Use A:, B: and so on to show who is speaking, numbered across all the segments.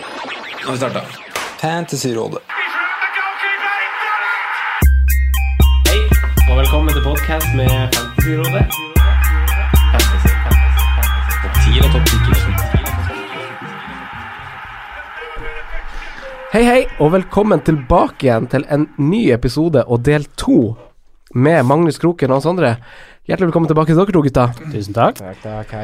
A: Nå har vi starta.
B: Fantasyrådet.
C: The goalkeeper, he done it!
D: Hei, og velkommen til podcast med Fantasyrådet. Fantasy, fantasy, fantasy. Topp 10 eller topp 10 Hei, hei, og velkommen tilbake igjen til en ny episode og del 2 med Magnus Kroken og hans andre. Hjertelig velkommen tilbake til dere to, gutta. Tusen takk.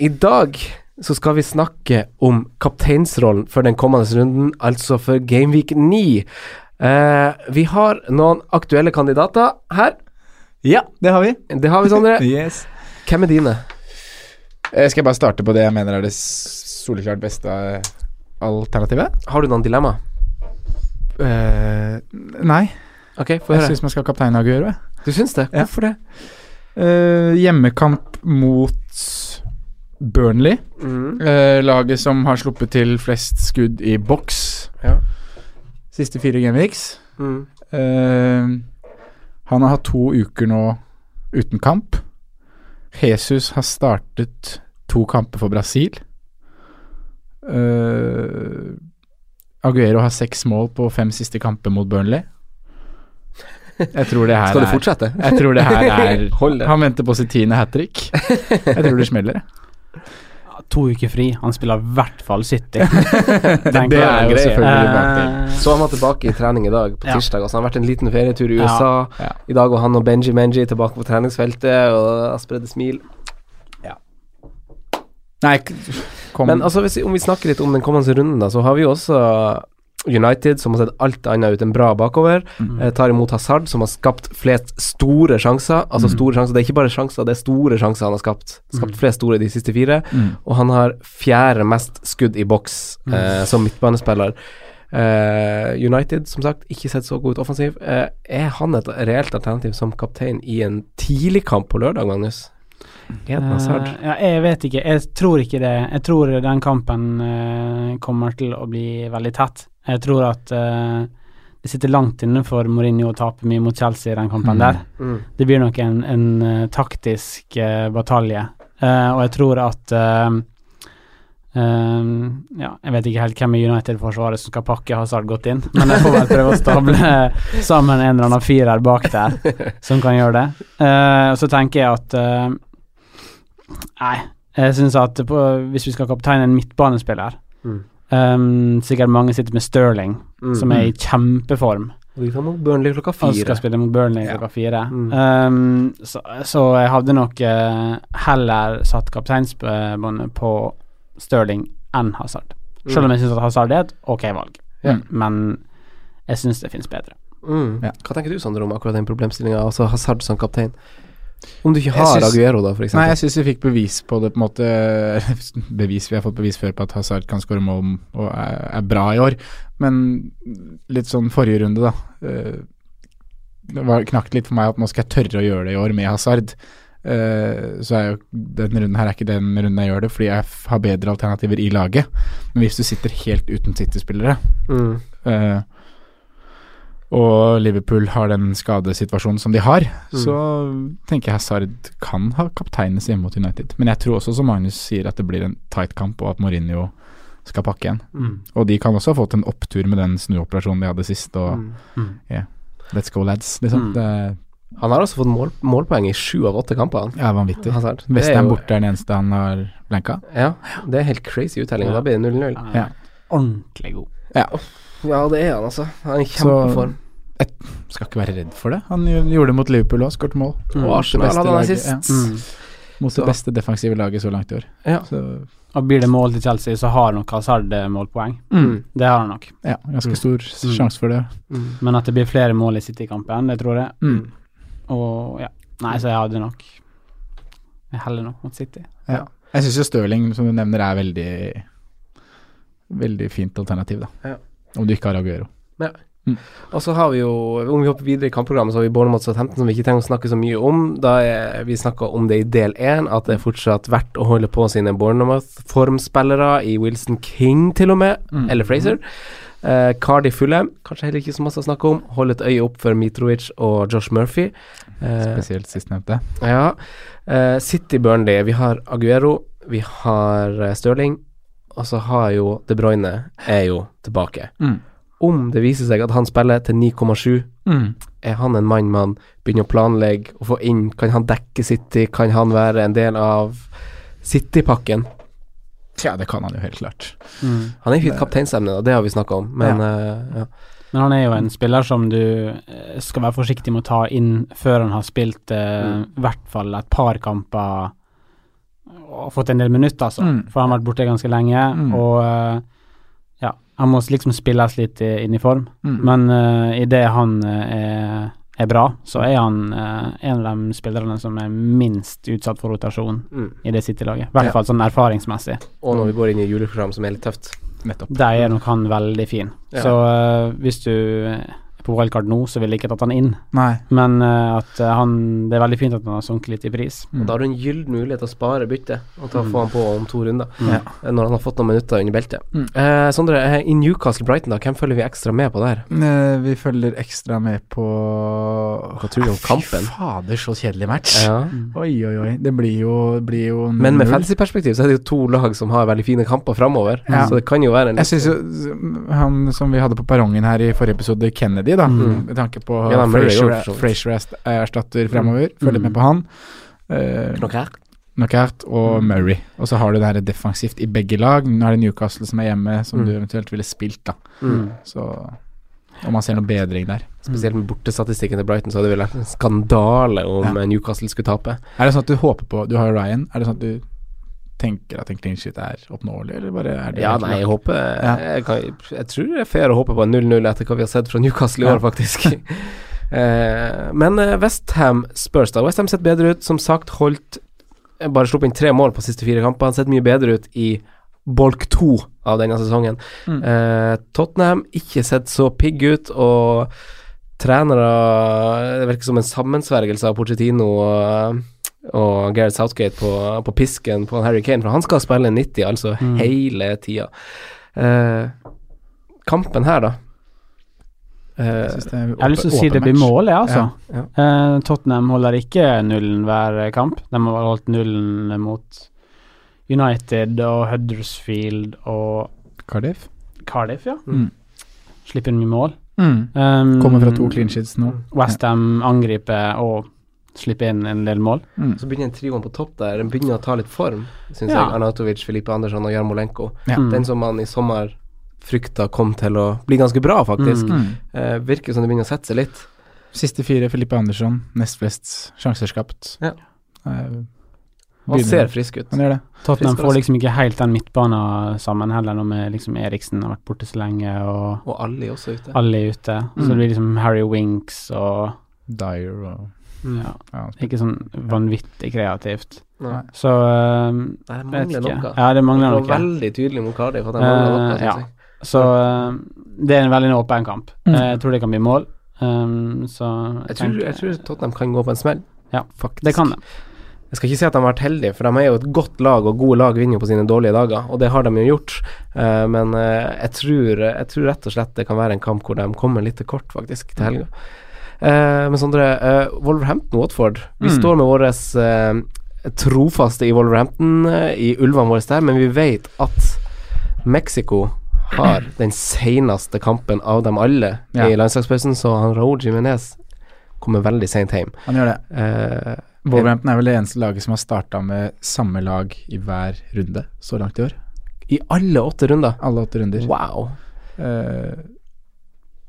D: I dag så skal vi snakke om kapteinsrollen for den kommende runden, altså for Gameweek 9. Eh, vi har noen aktuelle kandidater her.
E: Ja, det har vi.
D: Det har vi, Sondre.
E: Yes.
D: Hvem er dine?
E: Eh, Skal jeg bare starte på det jeg mener er det s- soleklart beste eh, alternativet?
D: Har du noen dilemma?
E: Eh, nei,
D: Ok, få
E: jeg
D: høre.
E: syns man skal ha kaptein Aguero. jeg.
D: Du syns det?
E: Ja.
D: Hvorfor det?
E: Eh, hjemmekamp mot Burnley.
D: Mm.
E: Eh, laget som har sluppet til flest skudd i boks
D: Ja.
E: siste fire gameweeks.
D: Mm.
E: Eh, han har hatt to uker nå uten kamp. Jesus har startet to kamper for Brasil. Eh, Aguero har seks mål på fem siste kamper mot Burnley. Jeg tror det her
D: Skal du
E: er
D: fortsette?
E: Jeg tror det her er
D: Hold det.
E: Han venter på sitt tiende hat trick. Jeg tror det smeller.
F: To uker fri. Han spiller i hvert fall 70.
E: Det er jo
F: Eh,
E: selvfølgelig bakdel.
D: Så han var tilbake i trening i dag, på
F: Ja.
D: tirsdag. Altså, han har vært en liten ferietur i
F: Ja.
D: USA.
E: Ja.
D: I dag var han og Benji Menji tilbake på treningsfeltet, og jeg spredde smil.
E: Nei, k- kom
D: Men altså, hvis, om vi snakker litt om den kommende runden, da, så har vi jo også United, som har sett alt annet ut enn bra bakover. Eh, tar imot Hazard, som har skapt flest store sjanser. Altså store sjanser, det er ikke bare sjanser, det er store sjanser han har skapt. Skapt flest store i de siste fire.
E: Mm.
D: Og han har fjerde mest skudd i boks eh, som midtbanespiller. Eh, United, som sagt, ikke sett så god ut offensiv. Eh, er han et reelt alternativ som kaptein i en tidlig kamp på lørdag, Magnus? Er det Hazard?
F: Eh, ja, jeg vet ikke. Jeg tror ikke det. Jeg tror den kampen eh, kommer til å bli veldig tett. Jeg tror at eh, det sitter langt inne for Mourinho å tape mye mot Chelsea i den kampen
E: Mm.
F: der.
D: Mm.
F: Det blir nok en, en eh, taktisk eh, batalje. Eh, og jeg tror at eh, eh, ja, jeg vet ikke helt hvem i United-forsvaret som skal pakke Hazard godt inn, men jeg får vel prøve å stable sammen en eller annen firer bak der som kan gjøre det. Eh, og så tenker jeg at eh, Nei, jeg syns at på, hvis vi skal kapteine en midtbanespiller
D: Mm.
F: eh, Sikkert mange sitter med Sterling,
D: Mm.
F: som er i kjempeform.
D: Vi kan mot Burnley klokka
E: Altså,
F: Han skal
D: fire.
F: spille mot Burnley
E: Ja.
F: klokka fire.
D: Mm.
F: Um, så, så jeg hadde nok eh, heller satt kapteinsbåndet på Stirling enn Hazard. Selv om jeg syns Hazard er et ok valg,
E: Ja.
F: men jeg syns det finnes bedre.
D: Mm.
E: Ja.
D: Hva tenker du, Sander, om akkurat den problemstillinga, altså Hazard som kaptein? Om du ikke
E: Jeg
D: har
E: syns-
D: Aguero, da, for
E: Nei,
D: eksempel?
E: jeg syns vi fikk bevis på det, på en måte Bevis, vi har fått bevis før på at Hazard kan skåre mål og er, er bra i år. Men litt sånn forrige runde, da. eh, Det var knakk litt for meg at nå skal jeg tørre å gjøre det i år med Hazard. Eh, så er jo den runden her er ikke den runden jeg gjør det, fordi jeg f- har bedre alternativer i laget. Men hvis du sitter helt uten City-spillere,
D: Mm.
E: Eh, og Liverpool har den skadesituasjonen som de har,
D: Mm.
E: så tenker jeg Hazard kan ha kapteinen sin mot United. Men jeg tror også, som Magnus sier, at det blir en tight kamp, og at Mourinho skal pakke igjen. Og de kan også ha fått en opptur med den snuoperasjonen de hadde sist,
D: Mm.
E: og yeah. let's go lads, liksom.
F: Mm.
E: Det
D: Han har også fått mål, målpoeng i sju av åtte kamper. han.
E: er vanvittig.
D: Hazard. Det er
E: Westham
D: jo-
E: borte er den eneste han har blanka.
D: Ja, det er helt crazy uttelling. og Da blir det 0-0.
F: Han
E: Ja.
F: er Eh, Ordentlig god.
D: Ja, det er han, altså. Han er i
E: Så-
D: kjempeform.
E: Skal ikke være redd for det. Han gj- gjorde det mot Liverpool òg, skåret
D: Og
E: mål. Mot det
D: mm. Arsenal
E: beste
D: hadde han
E: laget,
D: sist.
F: Mm.
E: Ja, mot
D: Så-
E: det beste defensive laget så langt i år.
D: Ja.
E: Så
F: Og blir det mål til Chelsea, så har nok Hazard eh, målpoeng.
D: Mm.
F: Det har han nok.
E: ja, ganske stor s-
F: Mm.
E: sjanse for det.
D: Mm.
F: Men at det blir flere mål i City-kampen, det tror jeg.
E: Mm.
F: Og ja. Nei, så jeg hadde nok Jeg heller nok mot City.
E: Jeg syns jo Stirling, som du nevner, er veldig Veldig fint alternativ, da.
D: Ja.
E: Om du ikke har Aguero.
D: Mm. Og så har vi jo, om vi hopper videre i kampprogrammet, så har vi Bournemouth Southampton som vi ikke trenger å snakke så mye om. Da er, vi snakka om det i del én, at det er fortsatt verdt å holde på sine Bournemouth-formspillere, i Wilson King til og med, eller Fraser. Eh, Cardi Fulham, kanskje heller ikke så masse å snakke om. Hold et øye opp for Mitrovic og Josh Murphy. Eh,
E: Spesielt sistnevnte.
D: ja. Eh, City Burnley, vi har Aguero, vi har eh, Stirling, Og så har jo De Bruyne er jo tilbake.
E: Mm.
D: Om det viser seg at han spiller til 9,7,
E: Mm.
D: er han en mann man begynner å planlegge og få inn? Kan han dekke City? Kan han være en del av City-pakken?
E: Tja, det kan han jo helt klart.
F: Mm.
D: Han er jo ikke et kapteinsemne, og det har vi snakka om, men eh, ja.
F: Men han er jo
E: Mm.
F: en spiller som du eh, skal være forsiktig med å ta inn før han har spilt
E: Mm.
F: eh, i hvert fall et par kamper og fått en del minutter, altså.
E: Mm.
F: For han har vært borte ganske lenge,
E: Mm.
F: og eh, ja, han må liksom spilles litt i- inn i form.
E: Mm.
F: Men uh, idet han eh, er, er bra, så er han eh, en av de spillerne som er minst utsatt for rotasjon
D: Mm.
F: i det City-laget. I hvert
E: Ja.
F: fall sånn erfaringsmessig.
D: Og når vi går inn i juleprogram, som er litt tøft.
E: Nettopp.
F: Der er nok han veldig fin.
D: Ja.
F: Så eh, hvis du er på wildcard nå, så ville jeg ikke tatt han inn.
E: Nei.
F: Men eh, at eh, han Det er veldig fint at han har sunket litt i pris.
D: Og da har du en gyllen mulighet til å spare byttet og ta, få han på om to runder,
E: Mm. Ja.
D: eh, når han har fått noen minutter under beltet.
E: Mm.
D: Eh, Sondre, eh, i Newcastle-Brighton, da, hvem følger vi ekstra med på der?
E: Eh, Vi følger ekstra med på
D: Hva tror du om
E: Fy
D: kampen?
E: fader, så kjedelig match.
D: Ja.
E: Oi, oi, oi. Det blir jo, det blir jo
D: Men med
E: null.
D: fantasy-perspektiv så er det jo to lag som har veldig fine kamper framover,
E: Ja.
D: så det kan jo være en
E: Jeg syns jo han som vi hadde på perrongen her i forrige episode, Kennedy, da,
F: Mm.
E: med tanke på
D: Ja, han ble det jo,
E: Frazier-
D: for så vidt.
E: Frazier erst- erstatter fremover, følg
F: Mm.
E: litt med på han. Eh,
D: Knock her.
E: Knockout
D: Mm.
E: og Murray. Og så har du det her defensivt i begge lag. Nå er det Newcastle som er hjemme, som
D: Mm.
E: du eventuelt ville spilt, da.
D: Mm.
E: Så om man ser noe bedring der.
D: Spesielt med bortestatistikken til Brighton, så hadde det vel vært en skandale om
E: Ja.
D: eh, Newcastle skulle tape.
E: Er det sånn at du håper på Du har jo Ryan. Er det sånn at du tenker at en clean sheet er oppnåelig, eller bare er det
D: Ja, nei, jeg håper jeg, kan, jeg tror det er fair å håpe på en 0-0 etter hva vi har sett fra Newcastle i år, faktisk. Eh, men eh, West Ham spørs, da. West Ham sett bedre ut. Som sagt, holdt eh, Bare sluppet inn tre mål på siste fire kamper. Han sett mye bedre ut i bolk to av denne sesongen.
E: Mm.
D: Eh, Tottenham ikke sett så pigg ut, og trenere Det virker som en sammensvergelse av Pochettino og, og Gareth Southgate på, på pisken på Harry Kane, for han skal spille 90, altså hele tida. Eh, kampen her, da. Eh,
E: synes det er
F: Jeg har lyst til å si
E: åpen
F: det blir
E: match.
F: mål, jeg, altså.
D: Ja,
F: Eh, Tottenham holder ikke nullen hver kamp. De har bare holdt nullen mot United og Huddersfield og
E: Cardiff.
F: Cardiff, ja.
E: Mm.
F: Slipper inn mye mål.
E: Mm.
F: Um,
E: Kommer fra to
D: Mm.
E: clean sheets nå.
F: Westham angriper og slipper inn en del mål.
E: Mm.
D: Så begynner trioen på topp der. Den begynner å ta litt form, syns
F: Ja.
D: jeg. Arnatovic, Filipe Andersson og Jarmolenko.
E: Ja.
F: Mm.
D: Den som man i sommer frykta kom til å bli ganske bra, faktisk.
F: Mm.
E: Mm.
D: Eh, virker som det begynner å sette seg litt.
E: Siste fire, Filippe Andersson. Nest flest sjanser skapt.
D: Ja.
E: Eh,
D: Han
E: begynner-
D: ser frisk ut.
E: Han gjør det.
F: Tottenham
D: Frisk og
F: får
D: rask.
F: liksom ikke helt den midtbanen sammen heller, nå med liksom Eriksen har vært borte så lenge og
D: Og Ali er også ute.
F: alle er ute. Så
D: Mm.
F: det blir liksom Harry Winks og
E: Dyer og
F: ja,
E: ja,
F: Ikke sånn vanvittig kreativt.
D: Mm. Nei.
F: Så um,
D: Nei, det
F: vet
D: mangler
F: ikke.
D: noe.
F: Ja, det
D: Det
F: mangler
D: var
F: noe.
D: veldig tydelig mot Cardiff at de mangler noe.
F: Eh,
D: synes
F: ja.
D: jeg.
F: Så um, det er en veldig åpen kamp.
E: Mm.
F: Eh, Jeg tror det kan bli mål. Um, så
D: Jeg, tror, jeg tror Tottenham kan gå på en smell.
F: Ja,
D: faktisk.
F: det kan det.
D: Jeg skal ikke si at de har vært heldige, for de er jo et godt lag, og gode lag vinner jo på sine dårlige dager, og det har de jo gjort. Eh, men eh, jeg, tror, jeg tror rett og slett det kan være en kamp hvor de kommer litt til kort, faktisk,
E: Mm.
D: til helga. Eh, men Sondre, eh, Wolverhampton-Watford. Vi
E: Mm.
D: står med vår trofaste i Wolverhampton, eh, i ulvene våre der, men vi vet at Mexico har den seneste kampen av dem alle
E: Ja.
D: i landslagspausen, så han Raúl Jiménez kommer veldig sent hjem.
E: Han gjør det.
D: Eh,
E: Wolverhampton er vel det eneste laget som har starta med samme lag i hver runde så langt i år.
D: I alle åtte runder.
E: Alle åtte runder.
D: Wow.
E: Eh,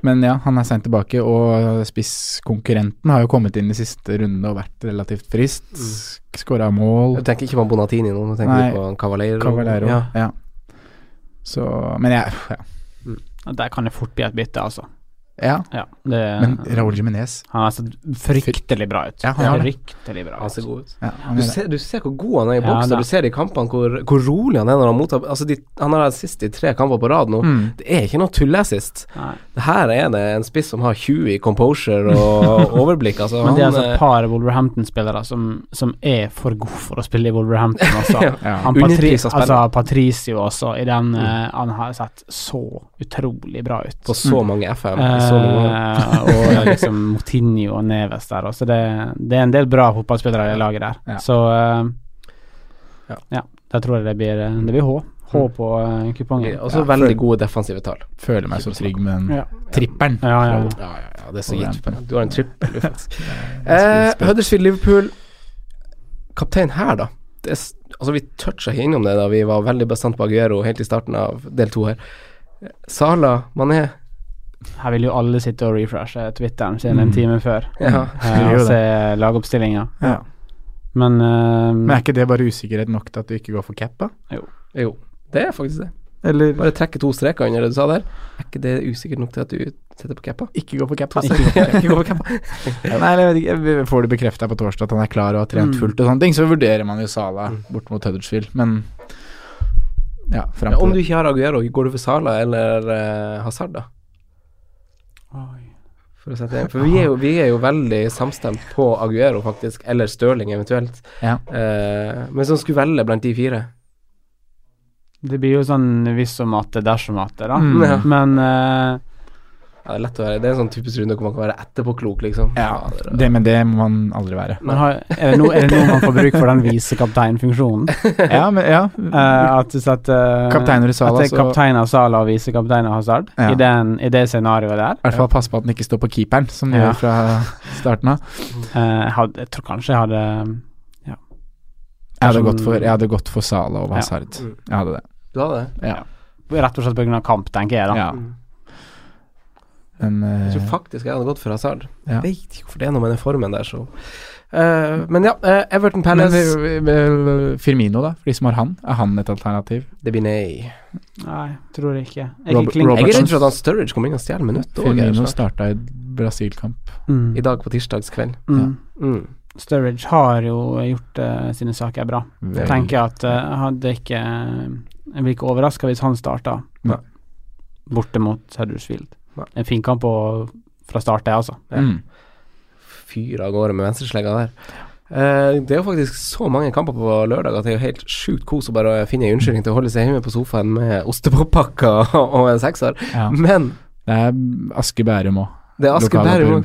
E: men ja, han er seint tilbake, og spisskonkurrenten har jo kommet inn i siste runde og vært relativt frist. Mm. Skåra mål.
D: Jeg tenker ikke på Bonatini nå, nå tenker
E: Nei.
D: jeg på Cavaleiro.
E: Cavallero.
D: Ja.
E: Ja. Så Men jeg ja.
F: Der kan det fort bli et bytte, altså.
E: ja.
F: Ja, det,
E: Men Raúl Jiménez
F: Han har sett fryktelig bra ut.
E: Ja, han har det.
F: fryktelig bra
D: Han
F: ut.
D: ser god ut.
E: ja, han
D: Du
E: gjør det.
D: ser, du ser hvor god han er i
F: Ja,
D: boksen,
F: da.
D: og du ser i kampene hvor, hvor rolig han er når han mottar Altså, de, han har hatt sist i tre kamper på rad nå.
E: Mm.
D: Det er ikke noe tulleassist.
F: Nei.
D: Her er det en spiss som har 20 i composure og overblikk, altså.
F: Men det er altså
D: eh,
F: et par Wolverhampton-spillere som, som er for gode for å spille i Wolverhampton også.
E: Ja.
F: Han Patri
D: Underprisa spillere. Mm.
F: altså Patricio også, i den eh, han har sett så utrolig bra ut.
D: på så mange FM. i Så mange år.
F: Mm. Eh, og liksom Motinho og Neves der også. Det, det er en del bra fotballspillere i laget der.
E: Ja.
F: Så eh,
D: Ja. Mm.
F: ja, da tror jeg det blir, det blir H. H på eh, kupongen.
D: Og så veldig gode defensive tall.
E: Føler meg så trygg med den
F: Ja.
E: tripperen.
F: Ja, ja, ja.
D: Ja, ja, ja, det er så
E: Og
D: gitt.
E: rampen.
D: Du har en trippel, du, faktisk. eh, Huddersfield-Liverpool. Kaptein her, da. Det er, s- altså, vi toucha ikke innom det da vi var veldig bastant på Aguero helt i starten av del to her. Sala, Mané
F: Her vil jo alle sitte og refreshe Twitteren sin en
E: Mm.
F: time før
D: ja.
F: eh,
E: Vil
F: og
E: jo
F: se lagoppstillinga.
E: Ja.
F: Men, eh,
E: Men er ikke det bare usikkerhet nok til at du ikke går for cap, da?
D: Jo, det er faktisk det.
E: Eller
D: Bare trekke to streker under det du sa der. Er ikke det usikkert nok til at du setter på cappa?
E: ikke gå for cap?
D: Ikke gå på cappa.
E: Altså.
D: Ikke gå på cappa.
E: Nei, eller jeg vet ikke, vi får det bekrefta på torsdag at han er klar og har trent
F: Mm.
E: fullt og sånne ting, så vurderer man jo Sala bort mot Huddersfield, men ja, fram
D: Ja, om du
E: til det.
D: ikke har Aguero, går du for Sala eller eh, Hazard, da?
F: oi.
D: For, å sette det inn. for vi, er jo, vi er jo veldig samstemt på Aguero, faktisk. Eller Stirling, eventuelt.
E: Ja.
D: Eh, men som skulle velge blant de fire.
F: Det blir jo sånn hvis og matte, dersom matte, da.
E: Mm.
D: Ja.
F: Men eh,
D: Ja, det er lett å være Det er en sånn typisk runde hvor man kan være etterpåklok, liksom.
E: Ja, det, men det må man aldri være.
F: men har, er, det no, er det noe man får bruk for den visekapteinfunksjonen?
E: Ja, men ja.
F: Eh, at hvis at, eh,
E: Kapteiner i Sala,
F: at det er
E: så i
F: kaptein av Sala og visekaptein av Hazard,
E: Ja.
F: i, den, i det scenarioet der
E: hvert fall passe på at den ikke står på keeperen, som de
F: Ja.
E: gjør fra starten av.
F: eh, hadde, Jeg tror kanskje jeg hadde
E: Jeg hadde
F: Som-
E: gått for, jeg hadde gått for Sala og
F: Ja.
E: Hazard.
D: Mm.
E: Jeg hadde det.
D: Du har det?
F: Rett og slett pga. kamp, tenker jeg, da.
E: Ja.
D: Mm.
E: Men
D: Jeg tror
E: eh,
D: faktisk jeg hadde gått for Hazard.
E: Ja.
D: Jeg vet ikke hvorfor det er noe med den formen der, så Eh, Men ja, eh, Everton
E: men,
D: Palace det,
E: eh, eh, Firmino, da? For de som har han, er han et alternativ?
D: blir nei.
F: Nei, tror jeg ikke. Jeg
E: Rob-
F: er klink-
D: Jeg er
E: Robertson.
D: redd for at han Sturridge kommer inn og stjeler minutt òg,
E: Firmino starta i Brasil-kamp.
F: Mm.
D: i dag på tirsdagskveld.
F: Mm.
D: Mm.
F: Sturridge har jo gjort eh, sine saker bra.
E: Vel-
F: Jeg tenker at eh, jeg hadde ikke eh, Jeg blir ikke overraska hvis han starter
E: Nei.
F: borte mot Huddersfield.
D: Nei.
F: En fin kamp å- fra start, det, altså.
E: Mm.
D: Fyrer av gårde med venstreslegga der. Eh, det er jo faktisk så mange kamper på lørdag at det er jo helt sjukt kos å bare finne en unnskyldning til å holde seg hjemme på sofaen med ostepoppakker og en sekser.
E: Ja.
D: Men
E: Det er Aske Bærum òg.
D: det er Asker Bærum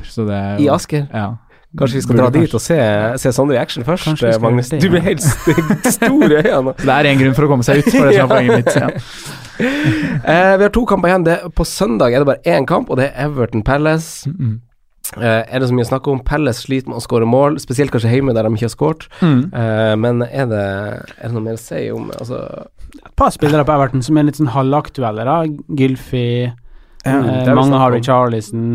D: i Asker.
E: Ja.
D: Kanskje vi skal dra dit og se, se Sondre i action først,
F: Kanskje vi skal
D: Magnus.
F: gjøre det,
D: Du
F: ja.
D: blir helt st- stor i øynene.
E: Det er én grunn for å komme seg ut, for det som er poenget mitt. Ja.
D: Eh, vi har to kamper igjen. Det, på søndag er det bare én kamp, og det er Everton Palace.
E: Mm.
D: Eh, er det så mye å snakke om? Palace sliter med å skåre mål, spesielt kanskje hjemme der de ikke har skåret.
E: Mm.
D: Eh, men er det, er det noe mer å si om altså,
F: Et par spillere på Everton som er litt sånn halvaktuelle, da. Gylfi,
D: det
E: Ja,
F: eh,
D: har vi snakket
F: mange Harry
D: om. Mm.
F: Charlison,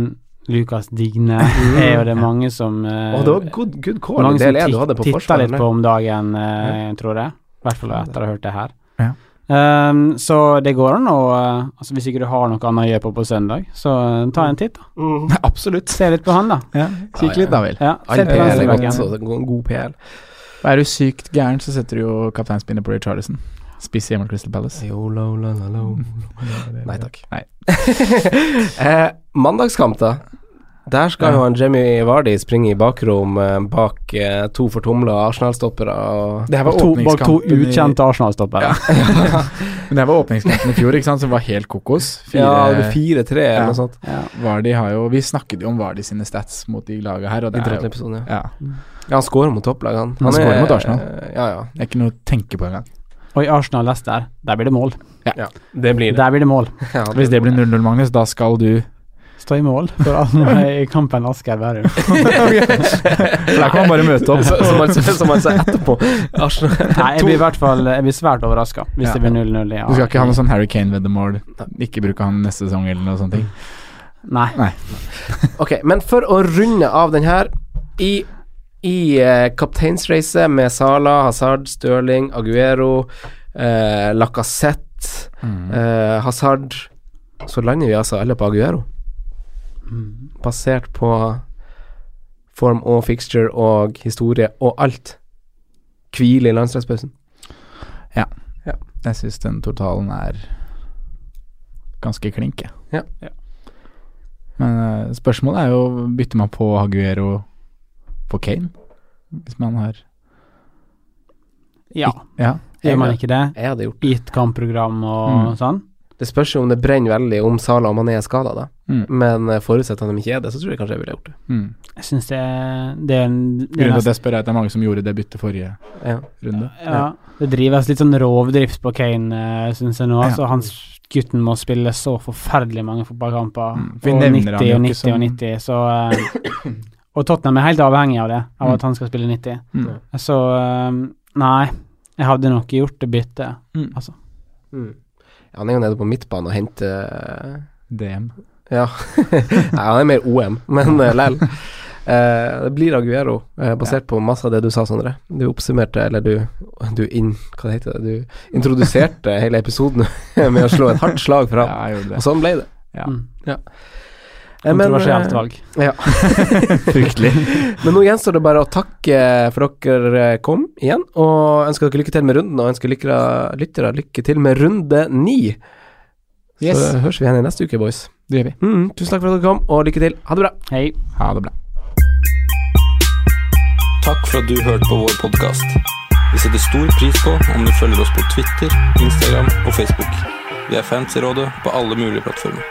F: Lucas Digne er jo det mange som eh,
D: Å, det var good, good call i
F: mange som
D: del én du
F: titt-
D: hadde på
F: titta
D: forsvaret.
F: litt på om dagen, eh, tror jeg. I hvert fall etter å ha hørt det her.
E: Ja.
F: Ehm, så det går an å eh, altså Hvis ikke du har noe annet å gjøre på på søndag, så eh, ta en titt, da.
D: Mm.
E: Absolutt.
F: Se litt på han, da.
E: Ja. sånn. Kikk litt, da vel.
F: Ja, se
D: All
F: på
D: PL er godt,
F: landslaget.
D: så det går en god PL.
E: Er du sykt gæren, så setter du jo kapteinspinnet på Ray Charlison. Spiss hjemme mot Crystal Palace.
D: Nei takk.
E: Nei.
D: eh, mandagskamp, da. Der skal
E: Ja.
D: jo han Jimmy Vardy springe i bakrom eh, bak eh, to fortumla Arsenal-stoppere. og-
E: Det her var
F: Og to, bak to
E: åpningskampen i-
F: ukjente Arsenal-stoppere.
E: Men det her var åpningskampen i fjor, ikke sant, som var helt kokos. Fire,
D: Ja, det blir fire-tre eller
E: Ja.
D: noe sånt.
F: Ja.
E: Vardy har jo Vi snakket jo om Vardy sine stats mot de laga her, og
D: I
E: det er jo
D: Drøtland-episoden, ja.
E: ja,
D: ja. Han scorer mot topplag, han.
E: Han scorer
D: er-
E: mot Arsenal.
D: eh, Ja, ja.
E: det er ikke noe å tenke på engang.
F: Og i Arsenal-Leicester, der blir det mål.
D: Det blir det.
F: Der blir det mål.
D: Ja,
E: Hvis det blir 0-0, Magnus, da skal du
F: Stå i mål for Arsenal i kampen Asker Bærum.
E: For Der kan man bare møte opp.
D: Som man som man sa etterpå. Arsenal
F: Nei, jeg blir i hvert fall Jeg blir svært overraska hvis
E: Ja.
F: det blir 0-0. Ja.
E: Du skal ikke ha noe sånn Harry Kane-veddemål. Ikke bruke han neste sesong eller noe sånt.
F: Nei.
D: Ok, men for å runde av den her I, i eh, kapteinsreise med Salah, Hazard, Stirling, Aguero, eh, Lacassette, eh, Hazard Så lander vi altså alle på Aguero. Basert på form og fixture og historie og alt. Hvile i landslagspausen.
E: Jeg syns den totalen er ganske klink, jeg.
D: Ja.
E: Men eh, spørsmålet er jo Bytter man på Aguero på Kane? Hvis man har
F: Ja,
E: Ja.
F: gjør man ikke det?
D: Jeg hadde gjort
F: Gitt kampprogram og
E: Mm.
F: sånn?
D: Det spørs jo om det brenner veldig om Sala og Mané er skada, da.
E: Mm.
D: Men eh, forutsatt at de ikke er det, så tror jeg kanskje jeg ville gjort det.
E: Mm.
F: Jeg syns det er det er, en- det, er
E: Grunnen til at
F: nesten,
E: jeg spør, er at det er mange som gjorde det byttet forrige
D: Ja.
E: runde.
F: ja, det drives litt sånn rovdrift på Kane, syns jeg nå.
E: Ja.
F: Så hans gutten må spille så forferdelig mange fotballkamper.
E: Mm, for vi
F: og
E: nevner
F: 90
E: han jo
F: og 90
E: ikke
F: og
E: som-
F: 90, så eh, Og Tottenham er helt avhengig av det, av
E: Mm.
F: at han skal spille 90.
E: Mm.
F: Så eh, nei, jeg hadde nok gjort det byttet.
E: Mm.
D: Mm. Ja, han er jo nede på midtbanen og henter eh,
E: DM.
D: Ja. Nei, han er mer OM, men uh, lell. Eh, det blir Aguero, eh, basert på masse av det du sa, Sondre. Du oppsummerte, eller du, du inn... Hva det heter det? Du introduserte hele episoden med å slå et hardt slag
E: Ja,
D: fra ham.
E: jeg gjorde
D: Og
E: det.
D: sånn ble det.
E: Ja.
F: Mm.
D: Eh, men, eh,
F: Kontroversielt valg.
E: Fryktelig.
D: Men nå gjenstår det bare å takke for dere kom igjen, og ønsker dere lykke til med runden, og ønsker lykkere, lyttere lykke til med runde ni.
E: Yes.
D: Så høres vi igjen i neste uke, boys.
E: Det gjør vi.
D: Mm, tusen takk for at dere kom, og lykke til. Ha det bra.
F: Hei.
E: Ha det bra.
A: Takk for at du hørte på vår podkast. Vi setter stor pris på om du følger oss på Twitter, Instagram og Facebook. Vi er fans i rådet på alle mulige plattformer.